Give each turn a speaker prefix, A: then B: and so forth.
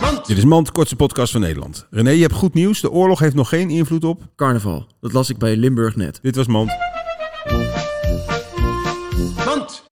A: Wat?
B: Dit is Mand, de kortste podcast van Nederland. René, je hebt goed nieuws. De oorlog heeft nog geen invloed op.
A: Carnaval. Dat las ik bij Limburg net.
B: Dit was Mand.
C: Mand.